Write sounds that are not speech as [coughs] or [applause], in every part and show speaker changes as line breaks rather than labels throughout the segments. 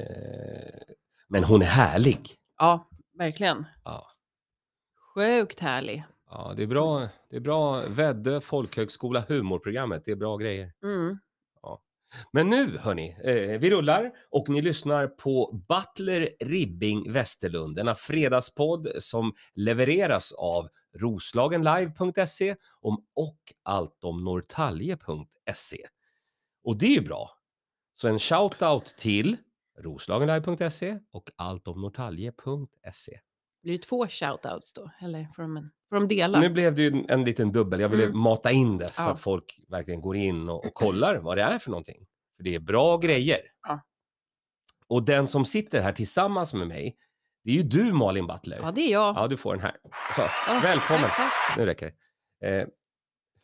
Eh, men hon är härlig.
Ja, verkligen.
Ja.
Sjukt härlig.
Ja, det är bra. Det är bra. Väddö folkhögskola humorprogrammet. Det är bra grejer.
Mm.
Men nu hörni, eh, vi rullar och ni lyssnar på Butler Ribbing Västerlund, denna fredagspodd som levereras av roslagenlive.se om och allt om norrtalje.se. Och det är ju bra. Så en shoutout till roslagenlive.se och alltomnorrtalje.se.
Det blir ju två shoutouts då, eller får de, en, får de dela?
Nu blev det ju en- en liten dubbel. Jag ville
Mm.
mata in det så
Ja.
att folk verkligen går in och, och kollar vad det är för någonting. För det är bra grejer.
Ja.
Och den som sitter här tillsammans med mig, det är ju du Malin Butler.
Ja, det är jag.
Ja, du får den här. Så,
Ja,
välkommen.
tack, tack.
Nu räcker det. Eh,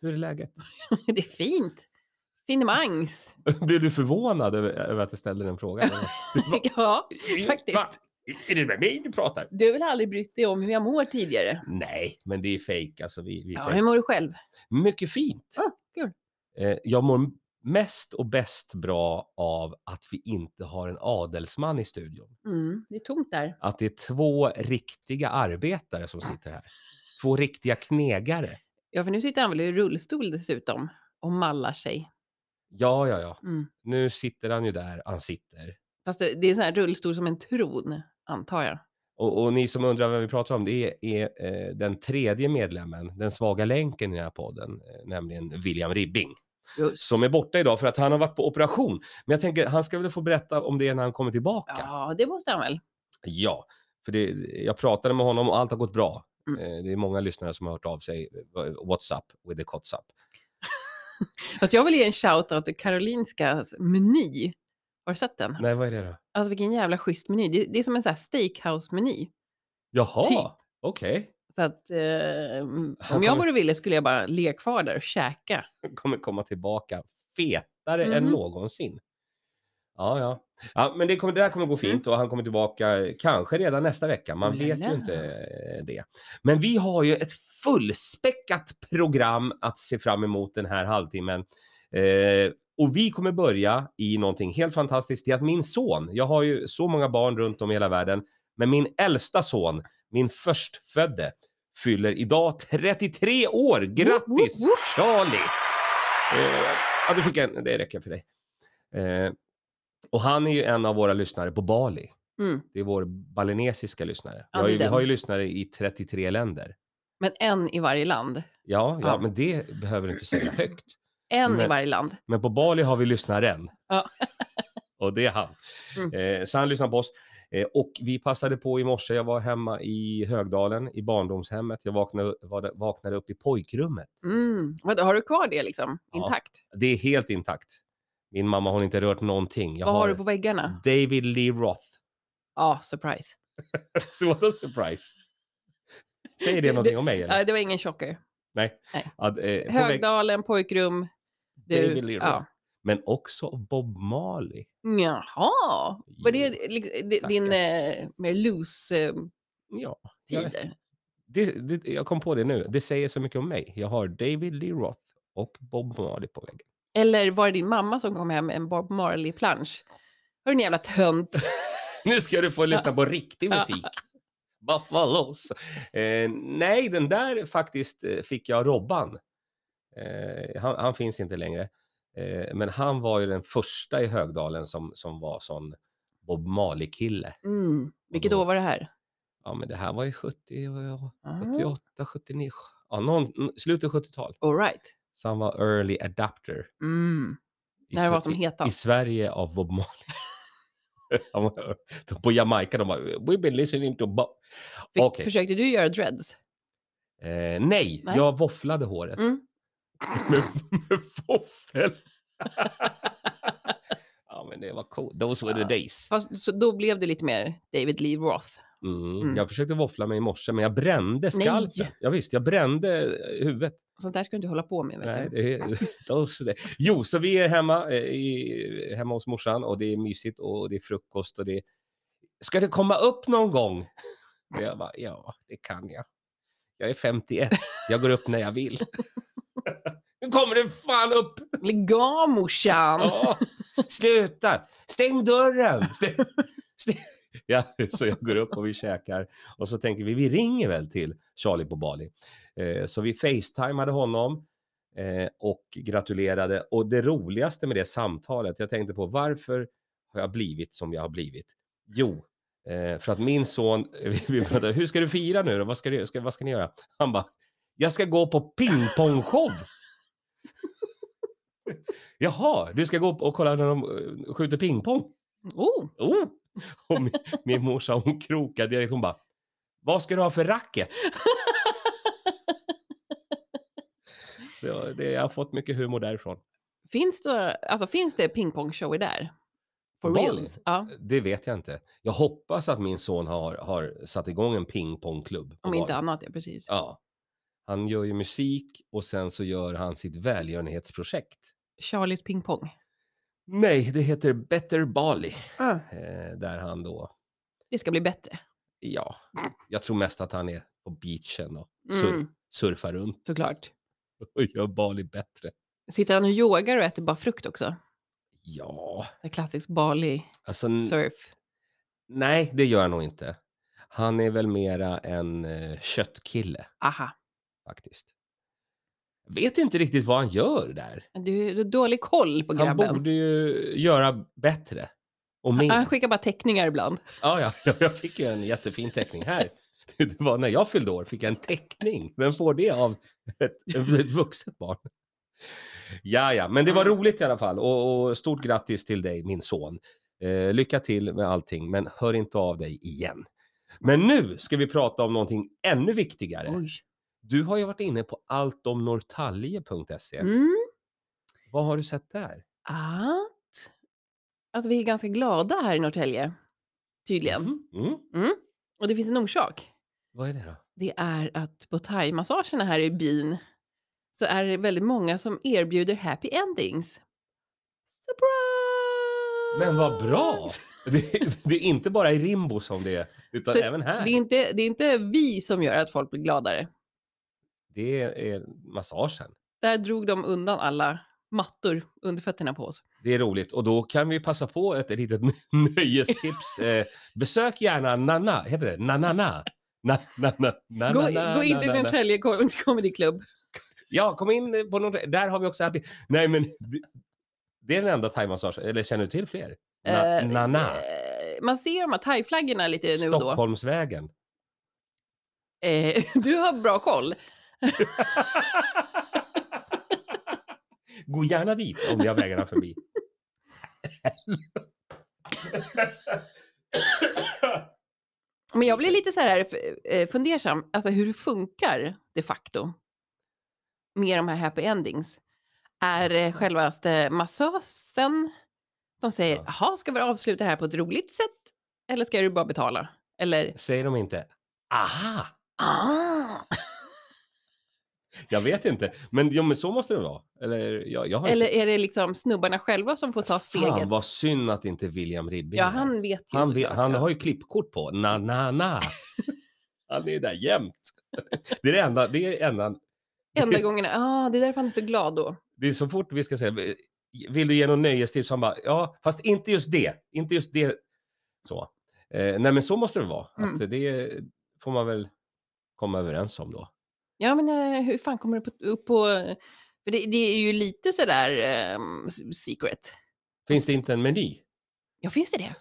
hur är läget? [laughs]
[laughs] Det är fint. Finemangs.
Blev du förvånad över, över att jag ställde den [laughs] frågan? eller? Du bara,
Ja, [laughs] faktiskt.
"Va? Är det med mig du pratar?
du har väl aldrig brytt dig om hur jag mår tidigare?
Nej, men det är fejk. Alltså, vi, vi
Ja,
fejkar.
hur mår du själv?
Mycket fint.
Ah, kul.
Eh, Jag mår mest och bäst bra av att vi inte har en adelsman i studion.
Mm, det är tomt där.
Att det är två riktiga arbetare som sitter här. Två riktiga knegare.
Ja, för nu sitter han väl i rullstol dessutom och mallar sig.
Ja, ja, ja.
Mm.
Nu sitter han ju där han sitter.
Fast det, det är en sån här rullstol som en tron, antar jag.
Och, och ni som undrar vem vi pratar om, det är, är eh, den tredje medlemmen, den svaga länken i den här podden, eh, nämligen William Ribbing,
Just.
som är borta idag för att han har varit på operation. Men jag tänker, han ska väl få berätta om det när han kommer tillbaka.
Ja, det måste han väl.
Ja, för det, jag pratade med honom och allt har gått bra.
Mm.
Eh, Det är många lyssnare som har hört av sig. eh, What's up with the cots up?
Fast jag vill ge en shout-out till Karolinskas meny. Har du sett den?
Nej, vad är det då?
Alltså vilken jävla schysst meny. Det, det är som en sån här steakhouse-meny.
Jaha,
Typ.
okej. [laughs]
Så att eh, om
kommer-
jag vore Ville skulle jag bara le kvar där och käka.
Kommer komma tillbaka fetare än
Mhm.
någonsin. Ja, ja. ja men det, kommer, det där kommer gå
Mm.
fint och han kommer tillbaka eh, kanske redan nästa vecka. Man
Oh la
vet ju
la.
inte eh, det. Men vi har ju ett fullspäckat program att se fram emot den här halvtimmen. Eh, och vi kommer börja i någonting helt fantastiskt. Det är att min son, jag har ju så många barn runt om i hela världen, men min äldsta son, min förstfödde, fyller idag 33 år. Grattis
woop, woop.
Charlie! Eh, ja, du fick en, det räcker för dig. Eh, och han är ju en av våra lyssnare på Bali.
Mm.
Det är vår balinesiska lyssnare. vi,
Ja,
har
det är
ju, vi
den.
har ju lyssnare i 33 länder.
Men en i varje land.
Ja, ja,
Ja.
men det behöver du inte säga högt.
En i
Men-
varje land.
Men på Bali har vi lyssnaren.
Ja.
[laughs] Och det är han.
Mm.
Eh, så han lyssnar på oss. Eh, och vi passade på i morse, jag var hemma i Högdalen, i barndomshemmet. Jag vaknade, var- vaknade upp i pojkrummet.
Mm. Vadå, har du kvar det liksom
Ja.
intakt?
Det är helt intakt. Min mamma har inte rört någonting. Jag Mm.
Vad har... du på väggarna?
David Lee Roth. [laughs]
Ja, surprise.
Så what a surprise. Säger det någonting om mig eller?
Nej, det var ingen chocker.
Nej.
nej.
Ad, eh, på väg-
Högdalen, pojkrum. Du,
David Lee Roth.
ja.
Men också Bob Marley.
Jaha, var det
Jo,
liksom, di-
tackar.
din eh, mer eh, loose-tider?
Ja, jag vet det, det, jag kom på det nu. Det säger så mycket om mig. Jag har David Lee Roth och Bob Marley på väggen. [laughs]
Eller var det din mamma som kom hem med en Bob Marley-plansch? Hör ni jävla tönt?
Nu ska du få lyssna på riktig
Ja.
musik. Buffalos. Eh, nej, den där faktiskt eh, fick jag av Robban. Eh, han, han finns inte längre. Eh, men han var ju den första i Högdalen som, som var sån Bob Marley-kille.
Mm. Vilket
då-
år var det här?
Ja, men det här var ju 70, och-
Ah,
78, 79. Ja, någon, slutet 70-tal.
All right.
Så han var early adapter.
Mm.
i
När det var
Sve-
som
i- I
hetast.
Sverige av Bob Marley. [laughs] Han var- de på Jamaica, de bara “We've been listening to Bob”.
Fick,
Okej.
Försökte du göra dreads?
Eh, nej,
Nej.
jag våfflade håret.
Mm.
med, [laughs] med våffel. [laughs] ja, men det var coolt. Those were the
Ja.
days.
Fast, så då blev du lite mer David Lee Roth.
Mm.
Mm.
Jag försökte våffla mig i morse, men jag brände skalpen.
Nej.
Ja, visst, jag brände eh, huvudet.
Sånt där ska du inte hålla på med. Vet
Nej,
du.
det är, [laughs] those days. Jo, så vi är hemma, eh, i, hemma hos morsan och det är mysigt och det är frukost och det är... Ska det komma upp någon gång? Och jag bara, ja, det kan jag. Jag är 51, jag går upp när jag
[laughs]
vill. nu kommer det fan upp!
Lägg av morsan!
Ja, Sluta! Stäng dörren! Stäng, stäng. Ja, så jag går upp och vi käkar och så tänker vi, vi ringer väl till Charlie på Bali. Eh, så vi facetimade honom eh, och gratulerade. Och det roligaste med det samtalet, jag tänkte på varför har jag blivit som jag har blivit? Jo, eh, för att min son, eh, vi, vi pratade, hur ska du fira nu då? Vad ska, du, ska, vad ska ni göra? Han bara, jag ska gå på pingpongshow. Jaha, du ska gå och kolla när de eh, skjuter pingpong?
Oh,
Oh! [laughs] Och min, min morsa hon krokade direkt. Hon bara, vad ska du ha för [laughs] racket? Så jag, det, jag har fått mycket humor därifrån.
finns det, alltså, finns det pingpongshower där? For
Bali?
reals? Ja.
Det vet jag inte. Jag hoppas att min son har, har satt igång en pingpongklubb. på
Om inte
Bali.
annat, ja precis.
Ja. Han gör ju musik och sen så gör han sitt välgörenhetsprojekt.
Charlies pingpong.
Nej, det heter Better Bali.
Ah.
Eh, där han då
Det ska bli bättre.
ja, jag tror mest att han är på beachen och sur
Mm,
surfar runt
Såklart.
och gör Bali bättre.
Sitter han och yogar och äter bara frukt också?
Ja,
Så här klassisk Bali
alltså n-
surf.
nej, det gör han nog inte. Han är väl mera en eh, köttkille
Aha.
faktiskt. Vet inte riktigt vad han gör där.
Du, du har dålig koll på
Han
grabben.
borde ju göra bättre. Och mer.
Han skickar bara teckningar ibland.
Ja, ja, ja, [laughs] jag fick ju en jättefin teckning här. [laughs] Det var när jag fyllde år, fick jag en teckning. Vem får det av ett, ett vuxet barn? Ja, ja, men det var
Mm.
roligt i alla fall. Och, och stort grattis till dig, min son. Eh, lycka till med allting, men hör inte av dig igen. Men nu ska vi prata om någonting ännu viktigare.
Oj.
Du har ju varit inne på alltomnorrtalje.se.
Mm.
E. Vad har du sett där?
Att... att vi är ganska glada här i Norrtälje. Tydligen.
Mhm. Mm.
Och det finns en orsak.
Vad är det då?
det är att på thaimassagerna här i byn så är det väldigt många som erbjuder happy endings. Surprise!
Men vad bra! [laughs] Det, det är inte bara i Rimbo som det är, utan
Så
även här.
Det är, inte, det är inte vi som gör att folk blir gladare.
Det är massagen.
Där drog de undan alla mattor under fötterna på oss.
Det är roligt och då kan vi passa på ett litet [laughs] nöjestips. Eh, besök gärna Nana, heter det? Nanana? Na, na, na, na,
Gå,
na, na,
gå in till
na, na, na.
Norrtälje Comedy Club.
Ja, kom in på något. Där har vi också happy. Nej, men det- det är den enda thaimassage. Eller känner du till fler? Na,
Eh,
nana.
eh, Man ser de här thai-flaggorna lite nu och då.
Stockholmsvägen.
Eh, [laughs] du har bra koll.
Gå gärna dit om ni har vägarna
[laughs]
förbi.
Men jag blir lite så här eh, fundersam, alltså hur det funkar de facto med de här happy endings. Är det självaste massösen som säger,
Ja.
jaha, ska vi avsluta det här på ett roligt sätt? Eller ska du bara betala? Eller,
Säger de inte aha?
ah!
Jag vet inte, men, ja, men så måste det vara. Eller, jag, jag har
Eller
inte...
är det liksom snubbarna själva som får ta
Fan
steget?
vad synd att inte William Ribbing
Ja,
är här.
han vet ju.
han, vet,
såklart,
han
ja.
har ju klippkort på na na na.
[laughs]
Han är där jämt. Det är det enda, det är det enda,
Enda
[laughs]
gången, ah, det är därför han är så glad då.
det är så fort vi ska säga, vill du ge någon nöjestips? Han bara, ja, fast inte just det, inte just det. Så. Eh, nej men så måste det vara,
Mm.
att det får man väl komma överens om då.
Ja, men eh, hur fan kommer det på, upp på... För det, det är ju lite sådär um, secret.
Finns det inte en
[laughs]
meny?
Ja, finns det det?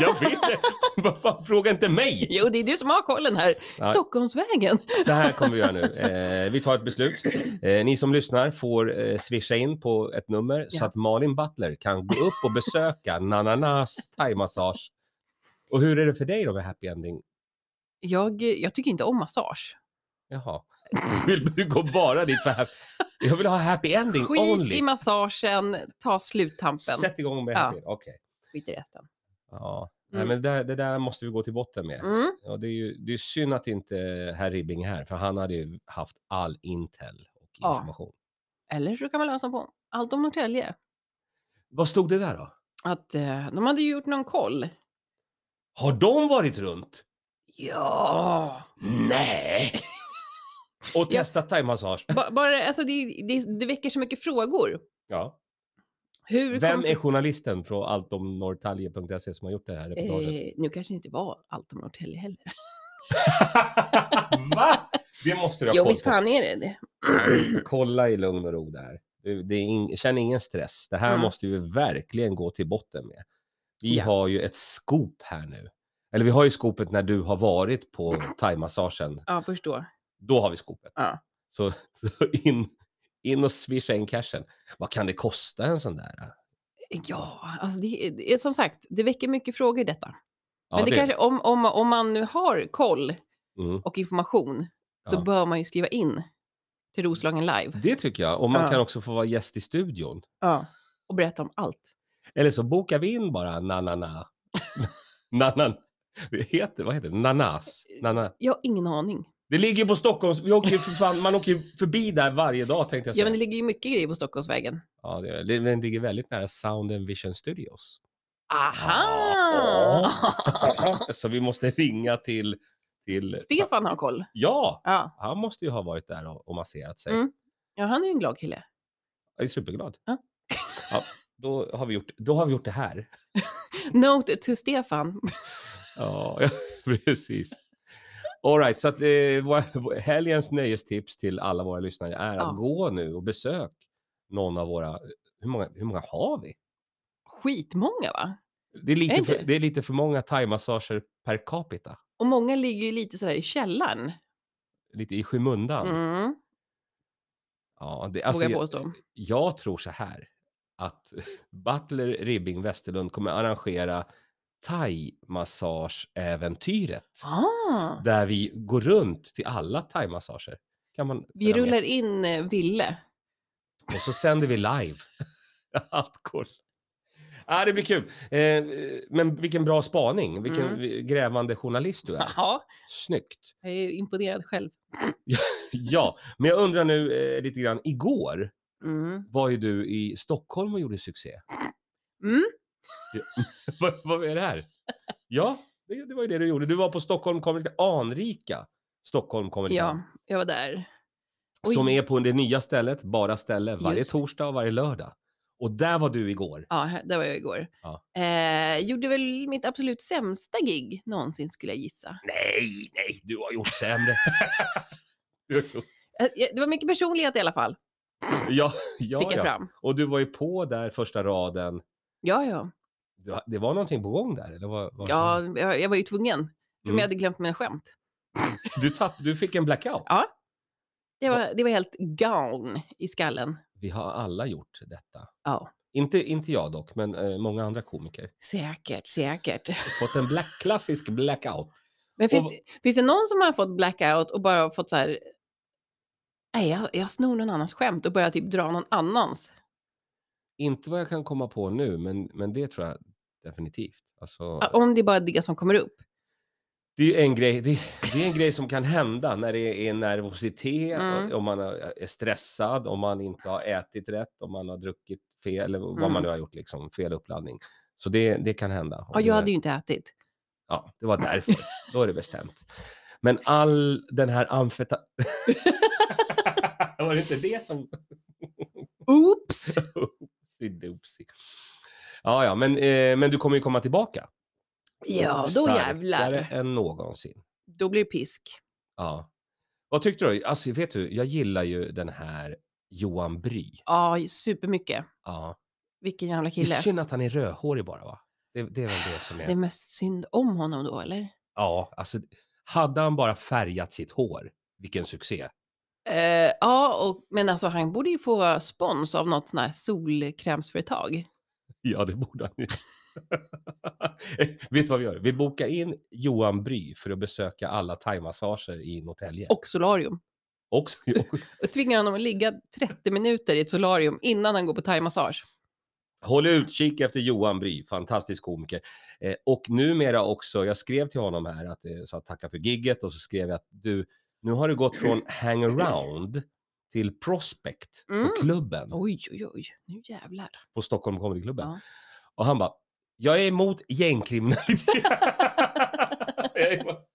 Jag vet inte, vad fan, fråga inte mig!
Jo, det är du som har kollen här.
Ja.
Stockholmsvägen.
Så här kommer vi göra nu. Eh, vi tar ett beslut. Eh, ni som lyssnar får eh, swisha in på ett nummer så
Ja.
att Malin Butler kan gå upp och besöka [laughs] Nananas thaimassage. Och hur är det för dig då med happy ending?
Jag, eh, jag tycker inte om massage.
Jaha. [laughs] Vill du gå bara dit för happy? Jag vill ha happy ending
Skit i
only.
massagen, ta sluttampen.
Sätt igång med
Ja.
happy Okej.
Skit i resten.
Ja.
Mm.
Nej, men det, där- det där måste vi gå till botten med.
Mm.
Ja, det är ju det är synd att inte herr Ribbing är här, för han hade ju haft all intel och
Ja.
information.
Eller så kan man lösa på allt om Norrtälje.
Vad stod det där då?
Att eh, de hade ju gjort någon koll.
Har de varit runt?
Ja!
Nej! Och
Ja.
testa thaimassage.
Ba- Bara, alltså, det, det, det väcker så mycket frågor.
Ja.
Hur
Vem
kom-
är journalisten från alltomnorrtalje.se som har gjort det här reportaget?
eh, Nu kanske det inte var allt om Norrtälje heller.
[laughs] Va? Det måste du ha
Jo,
koll
visst
på.
fan är det det.
[clears throat] Kolla i lugn och ro där. Du, Det är in, känn ingen stress. Det här
Mm.
måste vi verkligen gå till botten med. Vi
Ja.
har ju ett scoop här nu. Eller vi har ju scoopet när du har varit på thaimassagen.
Ja, förstå.
Då har vi scoopet.
Ja.
Så, [laughs] så in, in och swisha in cashen. Vad kan det kosta en sån där?
Ja, alltså det, är- det är som sagt, det väcker mycket frågor detta.
Ja,
Men det, kanske, om, om, om man nu har koll
mm,
och information så
Ja.
bör man ju skriva in till Roslagen Live
det tycker jag. Och man
Ja.
kan också få vara gäst i studion.
och berätta om allt.
Eller så bokar vi in bara na-na-na. [laughs] na Heter, vad heter det? Nanas? Nana.
Jag har ingen aning.
Det ligger på Stockholms... Vi åker ju för fan, man åker ju förbi där varje dag tänkte jag
Ja,
säga.
men det ligger ju mycket grejer på Stockholmsvägen.
Ja, det gör det. Den ligger väldigt nära Sound and Vision
[laughs]
Studios.
Aha!
Så vi måste ringa till... till
[laughs] Stefan har koll.
Ja,
Ja.
han måste ju ha varit där och, och masserat sig.
Mm. ja, han är ju en glad kille.
Jag är superglad.
Ja.
Ja, då, har vi gjort, då har vi gjort det här.
Note to Stefan.
Ja, [laughs] ja, precis. All right, så att, eh, våra, helgens nöjestips till alla våra lyssnare är att
Ja.
gå nu och besök någon av våra... Hur många, hur många har vi?
Skitmånga va?
Det är lite,
Är det?
För, det är lite för många thaimassager per capita.
Och många ligger ju lite sådär i källaren.
Lite i skymundan.
Mm,
Ja, det, alltså,
vågar jag
jag,
påstå.
jag tror så här att [laughs] Butler, Ribbing, Westerlund kommer arrangera thai-massage-äventyret.
Ah,
Där vi går runt till alla thai-massager. Kan man
vi
följa med?
rullar in eh, Ville.
Och så sänder vi live. [laughs] Allt går. Ja, det blir kul. Eh, men vilken bra spaning. Vilken
Mm.
grävande journalist du
[laughs]
är.
Jaha,
Snyggt.
jag är ju imponerad själv.
Ja, men jag undrar nu eh, lite grann. Igår
Mm.
var ju du i Stockholm och gjorde succé.
Mm.
[laughs] vad, vad är det här? Ja, det, det var ju det du gjorde. Du var på Stockholm Comedy anrika Stockholm Comedy
Ja, jag var där. Oj.
som är på det nya stället, bara ställe, varje
Just det.
torsdag och varje lördag. Och där var du igår.
Ja, här- där var jag igår.
Ja.
Eh, gjorde väl mitt absolut sämsta gig någonsin skulle jag gissa.
Nej, nej, du har gjort sämre. [laughs] Du har gjort-
Eh, jag- Det var mycket personlighet i alla fall,
ja, ja,
fick jag
ja.
fram.
Och du var ju på där första raden.
Ja, ja.
Du ha- Det var någonting på gång där, eller? Vad, vad
ja jag, jag var ju tvungen, för
Mm.
jag hade glömt mina skämt.
Du, tapp, du fick en blackout.
Ja. Det var, det var helt gown i skallen.
Vi har alla gjort detta.
Ja,
Inte, inte jag dock, men eh, många andra komiker.
säkert, säkert.
Fått en black, klassisk blackout.
Men finns,
Och-
det, finns det någon som har fått blackout och bara fått så här, nej, jag, jag snor någon annans skämt och börjar typ dra någon annans?
Inte vad jag kan komma på nu, men, men det tror jag definitivt. Alltså,
Om det är bara det som kommer upp.
Det är ju en grej, det, det är en grej som kan hända när det är nervositet,
Mm.
och- om man har- eh, är stressad, om man inte har ätit rätt, om man har druckit fel, eller vad
Mm.
man nu har gjort, liksom, fel uppladdning. Så det, det kan hända.
Ja,
Och
jag
det-
hade ju inte ätit.
ja, det var därför. Då är det bestämt. Men all den här amfeta... [laughs] var det inte det som...
Oops!
Oopsie-doopsie. Ja, ja, men, eh, men du kommer ju komma tillbaka.
Ja, då
Starkare
jävlar.
än någonsin.
Då blir det pisk.
Ja. Vad tyckte du? Alltså, vet du, jag gillar ju den här Johan Bry.
Ja, supermycket.
Ja.
Vilken jävla
Det är
kille.
synd att han är rödhårig bara, va? Det, det är väl det som
Det
är...
är mest synd om honom då, eller?
Ja, alltså, hade han bara färgat sitt hår, vilken succé. [laughs]
Eh, ja, och, men alltså han borde ju få spons av något sån här solkrämsföretag.
Ja, det borde han ju. [laughs] vet du vad vi gör? Vi bokar in Johan Bry för att besöka alla thaimassager i Norrtälje.
Och solarium.
Också, [laughs]
Och tvingar honom att ligga 30 minuter i ett solarium innan han går på thaimassage.
Håll utkik efter Johan Bry, fantastisk komiker. Eh, och numera också, jag skrev till honom här att eh, så att tacka för gigget och så skrev jag att du, nu har du gått
[clears throat]
från hangaround till prospect på
Mm.
klubben,
Oj, oj, oj. Nu jävlar.
på Stockholm Comedyklubben.
Ja.
Och han bara, jag är emot
[laughs]
gängkriminalitet. [laughs] Jag är emot-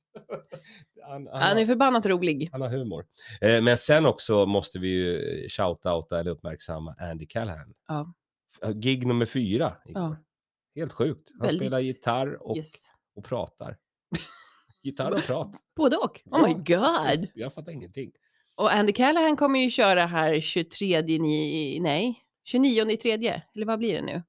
han, han,
Han är förbannat rolig.
han har humor. Eh, men sen också måste vi ju shoutouta eller uppmärksamma Andy Callahan.
Ja.
gig nummer fyra igår.
Ja.
Helt sjukt. Han
Väldigt.
spelar gitarr och,
Yes.
och
[laughs]
pratar. gitarr och prat.
Både och. [laughs] Oh my god!
Jag fattar ingenting.
Och Andy Callahan kommer ju köra här 23, ni, nej, 29 i tredje. Eller vad blir det nu?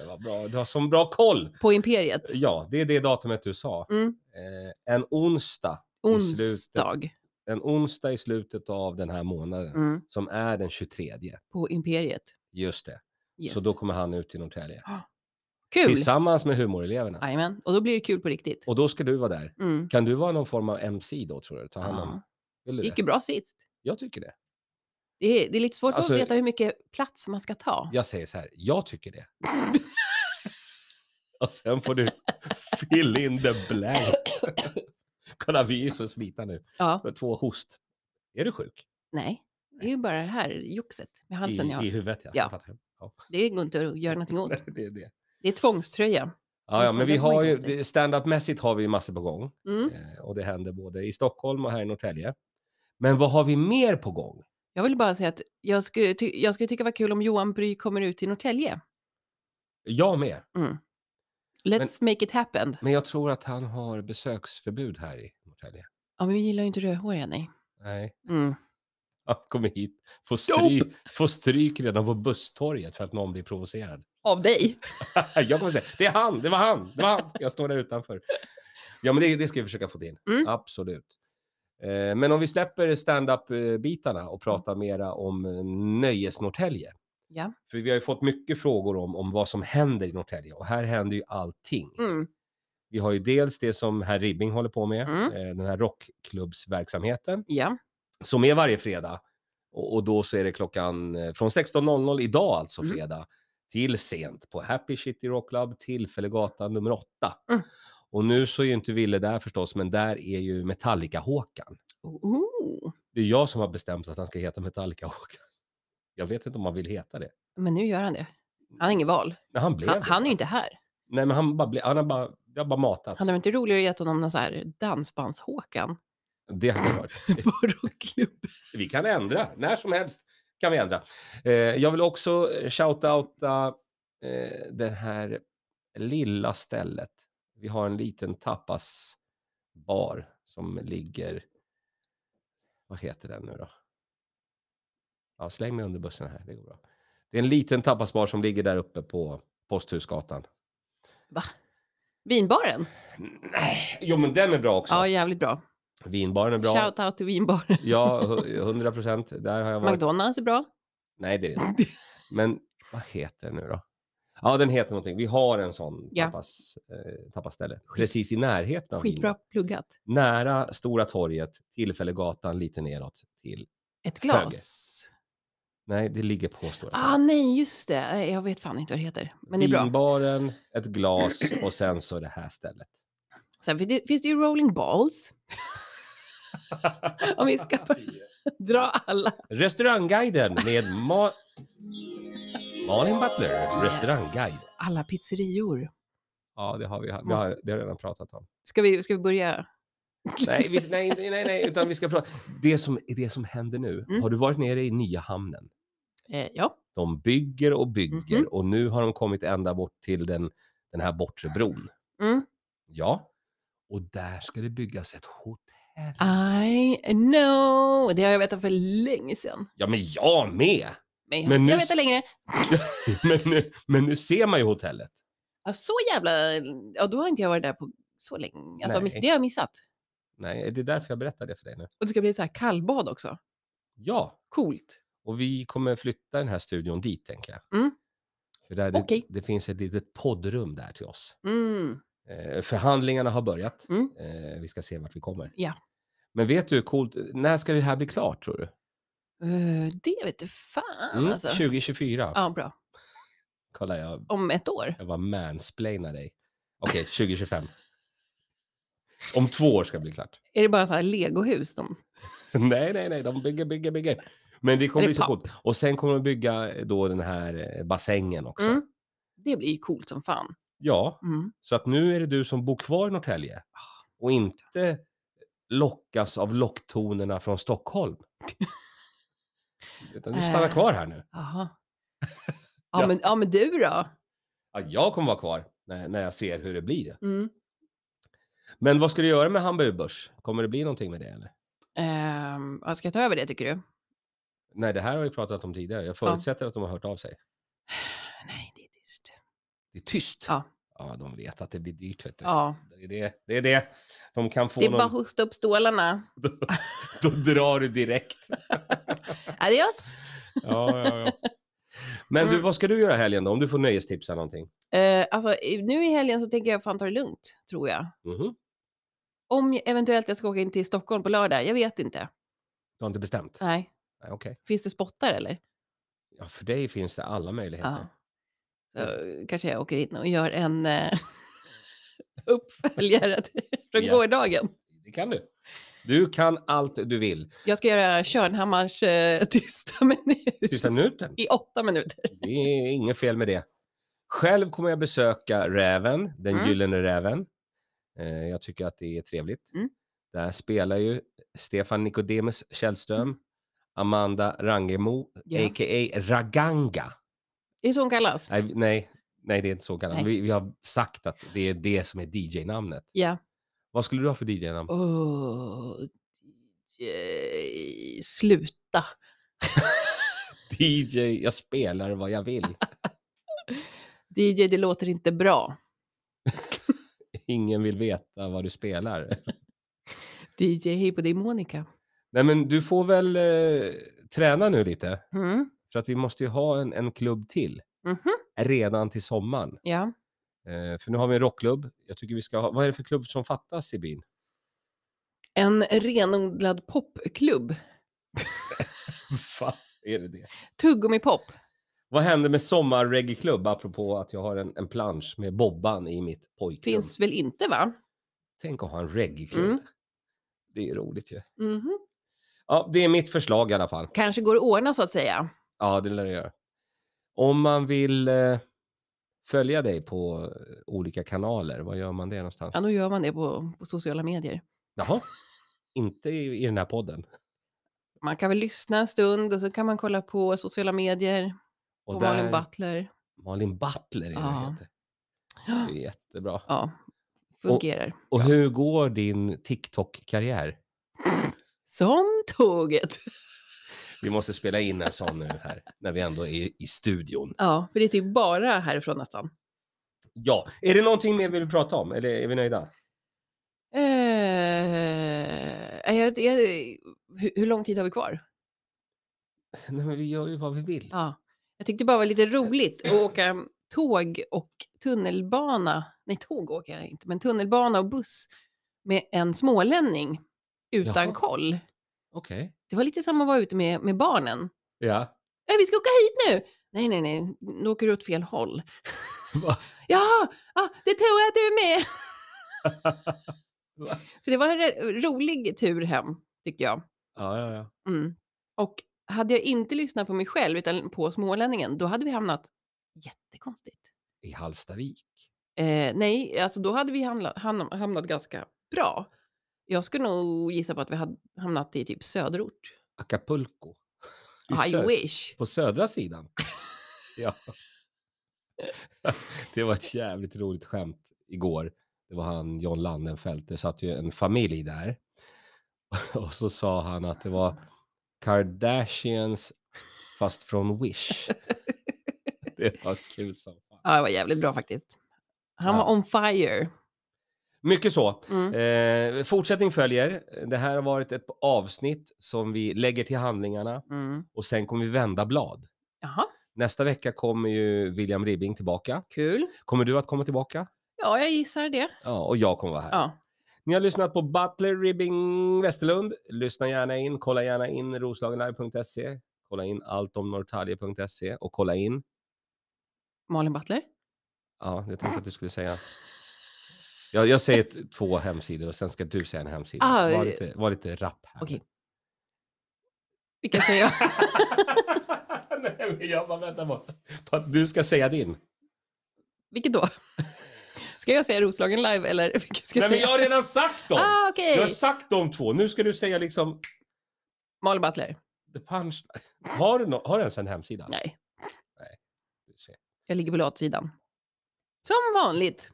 Det var bra. Du har sån bra koll.
På Imperiet.
Ja, det är det datumet du sa.
Mm.
Eh, en onsdag. i slutet-
Onsdag.
En onsdag i slutet av den här månaden
Mm.
som är den 23.
På Imperiet.
Just det.
Yes.
Så då kommer han ut till Norrtälje.
kul!
Tillsammans med humoreleverna.
Jajamän. Och då blir det kul på riktigt.
Och då ska du vara där.
Mm.
Kan du vara någon form av MC då tror du? Ta hand om.
Ja.
Vill
Det
du
gick
det?
ju bra sist.
Jag tycker det.
Det är, det är lite svårt
Alltså-
att veta hur mycket plats man ska ta.
Jag säger så här, jag tycker det. [laughs] Och sen får du fill in the blank. [coughs] Kolla, vi är så slitna nu.
Ja.
För två host. Är du sjuk?
Nej, det är ju bara det här joxet med halsen
I,
jag
I
har.
huvudet, ja.
Ja.
Jag fattar. Ja.
Det går inte att göra någonting åt.
[laughs] Det är det.
Det är tvångströja.
Ja, ja,
får
men vi
det komma
har ju,
igång till.
det- stand-up-mässigt har vi ju massor på gång.
Mm.
Eh, Och det händer både i Stockholm och här i Norrtälje. Men vad har vi mer på gång?
Jag vill bara säga att jag skulle, ty- jag skulle tycka det var kul om Johan Bry kommer ut till Norrtälje.
Jag med.
Let's make it happen.
Men jag tror att han har besöksförbud här i Norrtälje.
Ja, men vi gillar ju inte rödhåriga, nej.
Nej,
Mm.
[laughs] han kommer hit, får stryk, får stryk redan på busstorget för att någon blir provocerad.
Av dig.
jag kommer säga, det är han, det var han, det var han. Jag står där utanför. Ja, men det, det ska vi försöka få till.
Mm.
Absolut. Eh, Men om vi släpper stand-up-bitarna och pratar mera om eh, Nöjes-Norrtälje.
Ja.
För vi har ju fått mycket frågor om, om vad som händer i Norrtälje och här händer ju allting.
Mm.
Vi har ju dels det som herr Ribbing håller på med,
Mm.
eh, den här rockklubbsverksamheten
Ja.
som är varje fredag. Och, och då så är det klockan eh, från 16.00 idag, alltså
Mm.
fredag, till sent på Happy City Rock Club, Tillfällegatan nummer 8.
Mm.
Och nu så är ju inte Ville där förstås, men där är ju Metallica-Håkan.
Oh.
Det är jag som har bestämt att han ska heta Metallica-Håkan. Jag vet inte om han vill heta det.
Men nu gör han det. Han har inget val.
Men han blev
Han,
det.
han är ju inte här.
Nej, men han, bara ble, han har bara, det har bara matats.
Han har inte roligare gett honom någon så här [laughs] dansbands-Håkan
Det hade varit.
på rockklubb.
Vi kan ändra, när som helst kan vi ändra. Eh, jag vill också eh, shoutouta eh, det här lilla stället. Vi har en liten tapasbar som ligger, vad heter den nu då? Ja, släng mig under bussen här, det går bra. Det är en liten tapasbar som ligger där uppe på Posthusgatan.
Vinbaren.
Nej, jo men den är bra också.
Ja, jävligt bra.
Vinbaren är bra.
Shout out till vinbaren.
Ja, hu- 100 procent. Där har jag varit.
McDonalds är bra.
Nej, det är det
[laughs]
inte. Men vad heter den nu då? Ja, den heter någonting. Vi har en sån
Ja.
tapas, eh, tapasställe precis i närheten av
Skitbra
Vinberg.
pluggat.
Nära Stora torget, Tillfällegatan lite neråt till.
Ett glas.
Nej, det ligger på Stora torget.
Ah, nej, just det. Eh, Jag vet fan inte vad det heter. Men det är bra.
Vinbaren,
[clears throat]
ett glas och sen så det här stället.
Sen finns det, finns det ju rolling balls. Om [laughs] vi [laughs] ska bara dra alla.
[laughs] Restaurangguiden med Ma- Malin Butler. Restaurangguide.
Alla pizzerior.
Ja, det har vi, vi har, det har jag redan pratat om.
Ska vi, ska vi börja? [laughs]
Nej, vi, nej, nej, nej, nej, utan vi ska prata. Det som, det som händer nu,
Mm.
har du varit nere i nya hamnen?
Eh, ja.
De bygger och bygger
Mhm.
och nu har de kommit ända bort till den, den här bortre bron.
Mm.
Ja, och där ska det byggas ett hotell.
Ah. I know. Det har jag vetat för länge sedan.
Ja, men jag med! [laughs]
Men jag,
Men nu
jag
s-
vet det längre.
Men nu, men nu ser man ju hotellet.
Ja, så jävla... Ja, då har inte jag varit där på så länge. Alltså,
Nej.
miss- det har jag missat.
Nej, det är därför jag berättar det för dig nu.
Och det ska bli så här kallbad också.
Ja,
Coolt.
och vi kommer flytta den här studion dit, tänker jag.
Mm.
För där, det,
Okej.
det finns ett litet poddrum där till oss.
Mm.
Eh, förhandlingarna har börjat.
Mm.
Eh, vi ska se vart vi kommer.
Ja.
Men vet du hur coolt, när ska det här bli klart tror du?
Eh, det vet du fan
Mm,
alltså.
2024.
Ja, bra.
Kolla, jag,
Om ett år.
jag bara mansplainar dig. Okej, 2025. Om två år ska det bli klart. [laughs]
Är det bara så här legohus? De...
nej, nej, nej, de bygger, bygger, bygger. Men det kommer
Är det
bli så
papp?
coolt. Och sen kommer de bygga då den här eh, bassängen också.
Mm. Det blir ju coolt som fan.
Ja,
Mm.
så att nu är det du som bor kvar i Norrtälje
Ah,
och inte lockas av locktonerna från Stockholm. Utan du stannar
Äh.
kvar här nu.
[laughs] Aha. Ja,
Ja.
Men, ja men du då?
Ja, jag kommer vara kvar när, när jag ser hur det blir.
Mm.
Men vad ska du göra med Hamburg Börs? Kommer det bli någonting med det eller?
Ehm, ja, ska jag ta över det tycker du?
Nej, det här har vi pratat om tidigare. Jag förutsätter att de har hört av sig.
Nej, det är tyst.
Det är tyst.
Ja.
Ja, de vet att det blir dyrt vet du.
Ja,
Det, är det, det är det. De kan få
det är
någon,
bara att hosta upp stålarna.
då drar du
[laughs]
direkt.
Adios!
Ja, ja, ja. Men du,
Mm.
vad ska du göra helgen då? Om du får nöjestipsa någonting?
Eh, alltså, i- nu i helgen så tänker jag fan ta det lugnt, tror jag.
Mhm.
Om jag, eventuellt jag ska åka in till Stockholm på lördag, jag vet inte.
Du har inte bestämt?
Nej,
Nej, okej.
finns det spottar eller?
Ja, för dig finns det alla möjligheter.
Ja. Så kanske jag åker in och gör en eh, [laughs] uppföljare till- från
Ja.
gårdagen.
Det kan du. Du kan allt du vill.
Jag ska göra Körnhammars eh, tysta minut [laughs]
Sista minuten.
i åtta minuter.
Det är inget fel med det. Själv kommer jag besöka Räven, den
Mm.
gyllene räven. Eh, jag tycker att det är trevligt.
Mm.
Där spelar ju Stefan Nicodemus Källström, Amanda Rangemo,
Mm. Ja.
a.k.a. Raganga.
Det är så hon kallas.
Nej, nej, nej det är inte så kallat.
Nej.
Vi, vi har sagt att det är det som är DJ-namnet.
Ja.
Vad skulle du ha för DJ-namn?
Åh, eh, sluta.
DJ, jag spelar vad jag vill.
DJ, det låter inte bra.
Ingen vill veta vad du spelar.
DJ, hej på dig Monica.
Nej, men du får väl eh, träna nu lite.
Mm.
För att vi måste ju ha en, en klubb till
Mhm.
redan till sommaren.
Ja.
Eh, för nu har vi en rockklubb. Jag tycker vi ska ha, vad är det för klubb som fattas i byn? [laughs]
En renodlad popklubb.
Fan, är det det?
Tuggummi-pop.
Vad hände med sommarreggae-klubb apropå att jag har en, en plansch med Bobban i mitt pojkrum?
Finns väl inte va?
Tänk att ha en reggae-klubb.
Mm.
Det är roligt ju.
Mhm.
Ja, det är mitt förslag i alla fall.
Kanske går att ordna så att säga.
Ja, det lär det göra. Om man vill eh, följa dig på eh, olika kanaler, var gör man det någonstans?
Ja, då gör man det på, på sociala medier.
Jaha, inte i, i den här podden.
Man kan väl lyssna en stund och så kan man kolla på sociala medier,
Och
på Malin Butler. [gasps]
Malin Butler är det
Ja.
ja. heter. Det är jättebra.
Ja, fungerar.
Och hur går din TikTok-karriär?
Som tåget.
Vi måste spela in en sån nu här, när vi ändå är i studion.
Ja, för det är typ bara härifrån nästan.
Ja, är det någonting mer vi vill prata om, eller är vi nöjda?
Eh, jag, jag, hur, hur lång tid har vi kvar?
Nej, men vi gör ju vad vi vill.
Ja. Jag tyckte bara det var lite roligt att åka tåg och tunnelbana. Nej, tåg åker jag inte, men tunnelbana och buss med en smålänning utan
Jaha.
koll.
Okej.
Det var lite samma att vara ute med, med barnen.
Ja.
"Äh, Vi ska åka hit nu! Nej, nej, nej, nu åker du åt fel håll.
[laughs] Va?
Ja, ah, det tror jag att du är med!
[laughs] Va?
Så det var en re- rolig tur hem, tyckte jag.
Ja, ja, ja.
Mm. Och hade jag inte lyssnat på mig själv utan på smålänningen, då hade vi hamnat jättekonstigt.
I Hallstavik.
Eh, nej, alltså då hade vi handla, hamna- hamnat ganska bra. Jag skulle nog gissa på att vi hade hamnat i typ söderort.
Acapulco. I
I
sö-
wish.
På södra sidan. ja. det var ett jävligt roligt skämt igår. Det var han John Landenfelt. Det satt ju en familj där. [laughs] Och så sa han att det var Kardashians fast från Wish. det var kul som fan.
Ja, det var jävligt bra faktiskt. Han
Ja.
var on fire.
Mycket så.
Mm.
Eh, fortsättning följer. Det här har varit ett avsnitt som vi lägger till handlingarna
Mm.
och sen kommer vi vända blad.
Jaha,
Nästa vecka kommer ju William Ribbing tillbaka.
kul.
Kommer du att komma tillbaka?
Ja, jag gissar det.
Ja, och jag kommer vara här.
Ja.
Ni har lyssnat på Butler Ribbing Westerlund. Lyssna gärna in, kolla gärna in roslagenlive.se, kolla in alltomnorrtalje.se och kolla in,
Malin Butler.
ja, jag tänkte att du skulle säga. Jag, jag säger t- två hemsidor och sen ska du säga en hemsida.
Ah,
var,
eh,
lite, var lite rapp här.
okej. Vilka säger jag?
[laughs] Nej, men jag bara väntar på, på att du ska säga din.
[laughs] Vilket då? Ska jag säga Roslagen live eller [laughs] vilket ska
Nej,
jag
men
säga?
jag har redan sagt dem!
Ah, okej.
Jag har sagt de två. Nu ska du säga liksom
Malin Butler.
the punch. Har du, nå- har du ens en hemsida?
Nej.
Nej.
Jag ligger på latsidan. Som vanligt.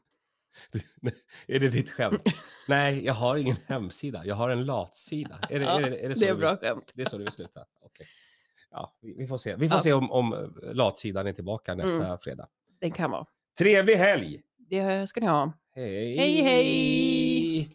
Är det ditt skämt? Nej, jag har ingen hemsida. Jag har en latsida. Är det,
Ja,
är det, är det, så
Det är
du
bra
Vill,
skämt.
det är så du vill sluta? Okej. Ja, Mm. vi, vi får se, vi får
Ja.
se om, om latsidan är tillbaka nästa fredag.
Den kan vara.
Trevlig helg!
Det ska ni ha.
Hej!
Hej, hej!